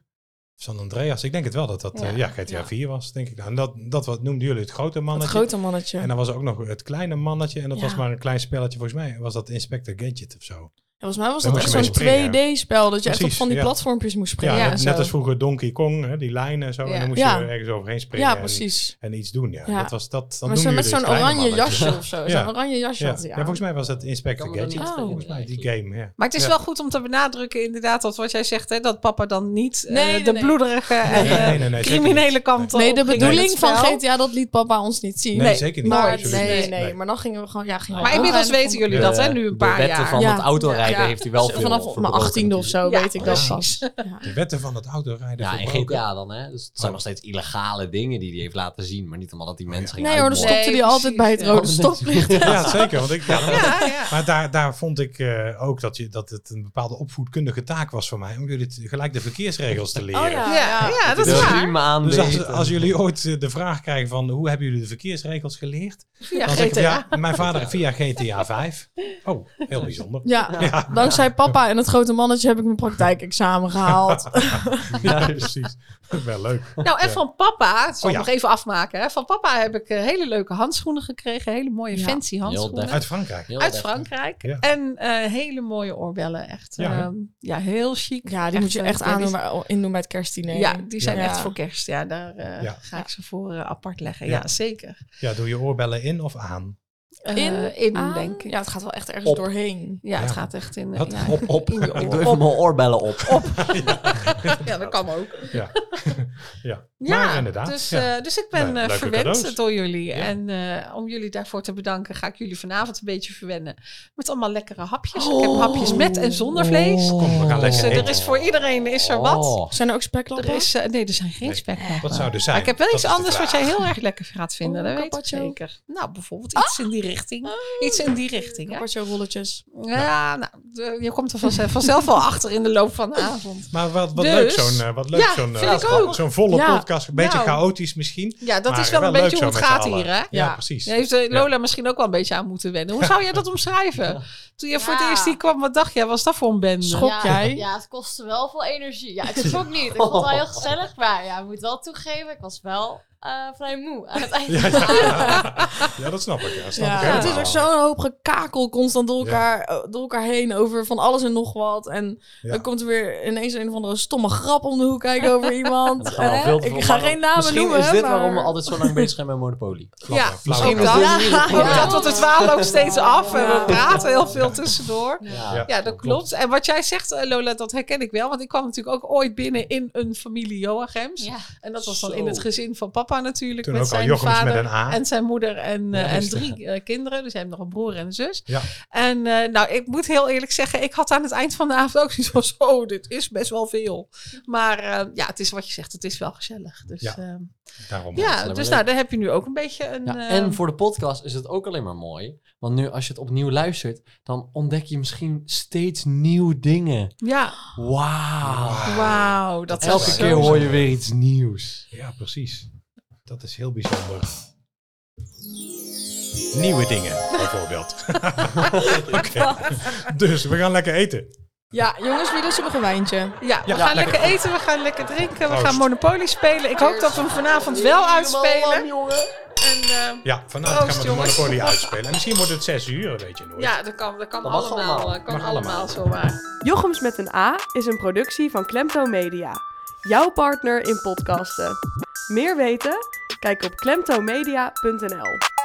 S4: San Andreas. Ik denk het wel dat dat
S3: Ja.
S4: eh, ja, GTA 4 was, denk ik. Nou, en dat, dat wat noemden jullie het grote
S5: Het
S4: mannetje.
S5: grote mannetje.
S4: En dan was er ook nog het kleine mannetje. En dat
S5: Ja.
S4: was maar een klein spelletje. Volgens mij was dat Inspector Gadget of zo.
S5: Ja, volgens mij was
S4: Daar
S5: dat
S4: moest
S5: echt
S4: je mee
S5: zo'n
S4: springen, hè?
S5: 2D-spel. Dat je echt op
S4: Precies,
S5: van die
S4: ja.
S5: platformpjes moest
S4: Ja,
S5: springen.
S4: net,
S5: en
S4: net
S5: zo.
S4: als vroeger Donkey Kong. Hè, die lijnen en zo. En
S3: Ja.
S4: dan moest
S5: Ja.
S4: je ergens overheen springen.
S5: Ja,
S4: en-
S5: precies.
S4: En, iets doen. Ja,
S5: Ja.
S4: dat was dat. Dan
S5: Maar zo
S4: noemden
S5: met
S4: jullie
S5: zo'n
S4: het kleine
S5: oranje
S4: mannetje.
S5: jasje of zo.
S4: Ja.
S5: Zo'n oranje jasje
S4: Ja.
S5: had hij
S4: Ja,
S5: aan.
S4: volgens mij was dat Inspector
S2: Kan me dat
S4: Gadget.
S2: niet
S5: Oh.
S4: Volgens mij die
S2: herinneren,
S4: game, ja.
S3: Maar het is
S4: Ja.
S3: wel goed om te benadrukken, inderdaad, dat wat jij zegt, hè, dat papa dan niet eh,
S5: Nee, nee,
S3: de
S5: nee.
S3: bloederige en
S4: Nee, nee, nee, nee,
S3: eh,
S4: zeker
S3: criminele
S4: niet.
S3: kant op
S5: Nee, de
S3: ging in
S5: bedoeling
S3: het
S5: van
S3: spel.
S5: GTA, dat liet papa ons niet zien.
S4: Nee, zeker niet.
S5: Maar,
S4: Absoluut
S5: nee, nee,
S4: niet. Nee.
S5: Maar dan gingen we gewoon... Ja, gingen we
S3: Maar
S5: gewoon
S3: inmiddels
S5: rijden
S3: weten
S5: van-
S3: jullie dat,
S2: De-
S3: hè, nu een
S2: de
S3: paar
S2: Eh, wetten
S3: jaar.
S2: van
S5: Ja.
S2: het autorijden
S5: Ja.
S2: heeft hij wel veel
S5: Vanaf mijn
S2: verbroken
S5: achttiende of zo
S3: Ja.
S5: weet ik dat
S4: Ja.
S5: precies. Ja.
S4: De wetten van het autorijden
S2: Ja, en
S4: verbroken.
S2: GTA dan, hè? Dus het zijn
S4: Oh.
S2: nog steeds illegale dingen die hij heeft laten zien. Maar niet omdat dat die mensen ging
S5: Nee hoor, dan
S2: uitmolken.
S5: stopte hij
S3: Nee,
S5: altijd bij het
S3: precies,
S5: rode
S2: ja. [laughs]
S5: stoplicht.
S4: Ja, zeker. Want ik, ja, dat-
S3: Ja, ja.
S4: Maar daar, daar vond ik eh, ook dat, je, dat het een bepaalde opvoedkundige taak was voor mij. Om jullie te- gelijk de verkeersregels te leren.
S5: Oh ja.
S3: Ja, ja, dat is
S2: Dus
S3: waar.
S2: riem aan
S4: Dus als,
S2: weten.
S4: als jullie ooit eh, de vraag krijgen van hoe hebben jullie de verkeersregels geleerd?
S3: Ja,
S4: Dan zeg ik van,
S3: GTA.
S4: ja, mijn vader via GTA 5. Oh, heel bijzonder.
S5: Ja, dankzij papa en het grote mannetje heb ik mijn praktijkexamen gehaald.
S4: [laughs] Ja, precies. Wel leuk.
S3: Nou, en van papa, het zal
S4: Oh, ja.
S3: nog even afmaken. Hè. Van papa heb ik eh, hele leuke handschoenen gekregen. Hele mooie
S5: Ja.
S3: fancy handschoenen.
S2: deftig.
S4: Uit Frankrijk.
S2: Heel
S3: Uit
S2: deftig.
S3: Frankrijk.
S4: Ja.
S3: En eh, hele mooie oorbellen. Echt
S4: Ja, hè?
S3: ehm, ja heel chic.
S5: Ja, die moet je
S3: eh,
S5: echt
S3: ja, die-
S5: aandoen bij, indoen bij het kerstdiner.
S3: Ja, die zijn
S5: Ja.
S3: echt voor kerst. Ja, daar eh,
S4: Ja.
S3: ga ik ze voor eh, apart leggen.
S4: Ja.
S3: Ja, zeker.
S4: Ja, doe je oorbellen in of aan?
S3: Eh,
S5: In,
S3: in
S5: aan-
S3: denk ik.
S5: Ah, Ja,
S3: Ja,
S5: het gaat wel echt ergens
S2: Op.
S5: doorheen.
S3: het
S4: Ja.
S3: gaat echt in. eh,
S4: Wat?
S3: ja,
S2: Op, op.
S3: in je
S2: Ik
S3: oor.
S2: doe
S3: Op.
S2: even mijn oorbellen op.
S3: Ja, dat kan ook.
S4: Ja. [laughs] ja.
S3: Ja,
S4: maar inderdaad.
S3: Dus,
S4: ja.
S3: eh, dus ik ben
S4: Nou,
S3: eh,
S4: leuke
S3: verwend
S4: cadeaus.
S3: door jullie. En eh, om jullie daarvoor te bedanken, ga ik jullie vanavond een beetje verwennen. Met allemaal lekkere hapjes. Ik
S5: Oh.
S3: heb hapjes met en zonder vlees.
S4: Kom, we gaan
S3: Dus
S4: lekker
S3: eh, er
S4: eten.
S3: is voor iedereen is er wat.
S2: Oh.
S5: Zijn er ook
S3: Er
S5: speklappen?
S3: is, eh, nee, er zijn geen
S4: Nee.
S3: spekhappen.
S4: Wat zou er zijn?
S3: Maar ik heb wel
S4: Dat
S3: iets
S4: is de
S3: anders wat
S4: vraag.
S3: jij heel erg lekker gaat vinden.
S5: Oh,
S3: dat weet ik
S5: carpaccio.
S3: zeker. Nou, bijvoorbeeld iets in die richting. Iets in die richting, hè?
S5: Carpaccio rolletjes.
S3: Ja, nou, de- je komt er vanzelf, vanzelf wel achter in de loop van de avond.
S4: Maar wat, wat
S3: Dus-
S4: leuk zo'n eh, wat leuk
S3: Ja,
S4: zo'n, eh,
S3: vind ik ook.
S4: zo'n volle
S5: Ja,
S4: podcast. Een beetje
S3: nou.
S4: chaotisch misschien.
S3: Ja, dat
S4: maar
S3: is wel, een
S4: leuk
S3: beetje
S4: zo
S3: hoe het
S4: met
S3: gaat
S4: z'n allen.
S3: hier, hè?
S4: Ja,
S5: Ja.
S4: precies.
S3: Daar heeft eh, Lola misschien ook wel een beetje aan moeten wennen. Hoe zou jij dat omschrijven? Toen je voor het
S6: Ja.
S3: eerst hier kwam, wat dacht jij? Was dat voor een bende?
S5: Schok
S6: ja,
S5: jij?
S6: Ja, het kostte wel veel energie. Ja, ik schrok niet. Ik vond het wel heel gezellig. Maar ja, ik moet wel toegeven, ik was wel eh, vrij moe aan het eind.
S4: Ja,
S3: [laughs]
S4: ja. Ja, dat snap ik. Ja, dat snap ik
S5: Ja, het
S4: helemaal.
S5: is ook zo'n hoop gekakel constant door elkaar, eh, door elkaar heen over van alles en nog wat. En
S4: Ja.
S5: dan komt er weer ineens een of andere stomme grap om de hoek kijken [laughs] over iemand.
S2: Er gaan al
S5: Hè?
S2: veel te veel
S5: Ik ga
S2: mannen-
S5: geen namen
S2: Misschien
S5: noemen.
S2: is dit
S5: maar-
S2: waarom we altijd zo lang bezig zijn met Monopoly.
S4: Flauwe-
S3: Ja,
S4: flauwe
S2: misschien
S4: grap.
S3: dat-
S2: Ja.
S3: Ook dat, want het dwalen ook steeds af en we
S5: Ja.
S3: praten heel veel tussendoor.
S2: Ja.
S3: Ja, dat klopt. En wat jij zegt, eh, Lola, dat herken ik wel. Want ik kwam natuurlijk ook ooit binnen in een familie Joachims.
S6: Ja.
S3: En dat was dan
S2: Zo.
S3: in het gezin van papa natuurlijk.
S4: Toen
S3: met
S4: ook al
S3: zijn
S4: Jochems
S3: vader
S4: met een A.
S3: en zijn moeder en, eh,
S4: Ja,
S3: en
S4: rustig.
S3: drie eh, kinderen. Dus hij heeft nog een broer en een zus.
S4: Ja.
S3: En eh, nou, ik moet heel eerlijk zeggen, ik had aan het eind van de avond ook zoiets van... [laughs] Zo, dit is best wel veel. Maar eh, ja, het is wat je zegt, het is wel gezellig. Dus
S4: Ja.
S3: ja,
S4: Daarom.
S2: is
S3: ja
S2: alleen maar
S3: dus
S2: leuk.
S3: nou, daar heb je nu ook een beetje een...
S2: Ja,
S3: eh,
S2: en voor de podcast is het ook alleen maar mooi. Want nu, als je het opnieuw luistert, dan ontdek je misschien steeds nieuwe dingen.
S3: ja, Ah.
S2: Wauw.
S3: wauw. Dat is
S2: Elke
S3: zo-
S2: keer hoor je weer iets nieuws.
S4: Ja, precies. Dat is heel bijzonder. Nieuwe dingen,
S3: [laughs]
S4: bijvoorbeeld. Oké. Dus we gaan lekker eten.
S5: Ja, jongens, wie lust er nog een wijntje?
S3: Ja, we
S4: Ja, lekker.
S3: gaan lekker eten, we gaan lekker drinken, we
S4: Proost.
S3: gaan Monopoly spelen. Ik hoop dat we hem vanavond wel uitspelen. En eh,
S4: Ja, vanavond
S3: Proost,
S4: gaan we de
S3: jongens.
S4: Monopoly uitspelen. En misschien wordt het zes uur, weet je nooit.
S3: ja, dat kan, dat kan
S2: Dat mag
S3: allemaal.
S2: allemaal.
S3: eh, Kan
S4: Mag allemaal.
S3: allemaal zomaar.
S7: Jochems met een A is een productie van Klemto Media, jouw partner in podcasten. Meer weten? Kijk op klemtomedia.nl.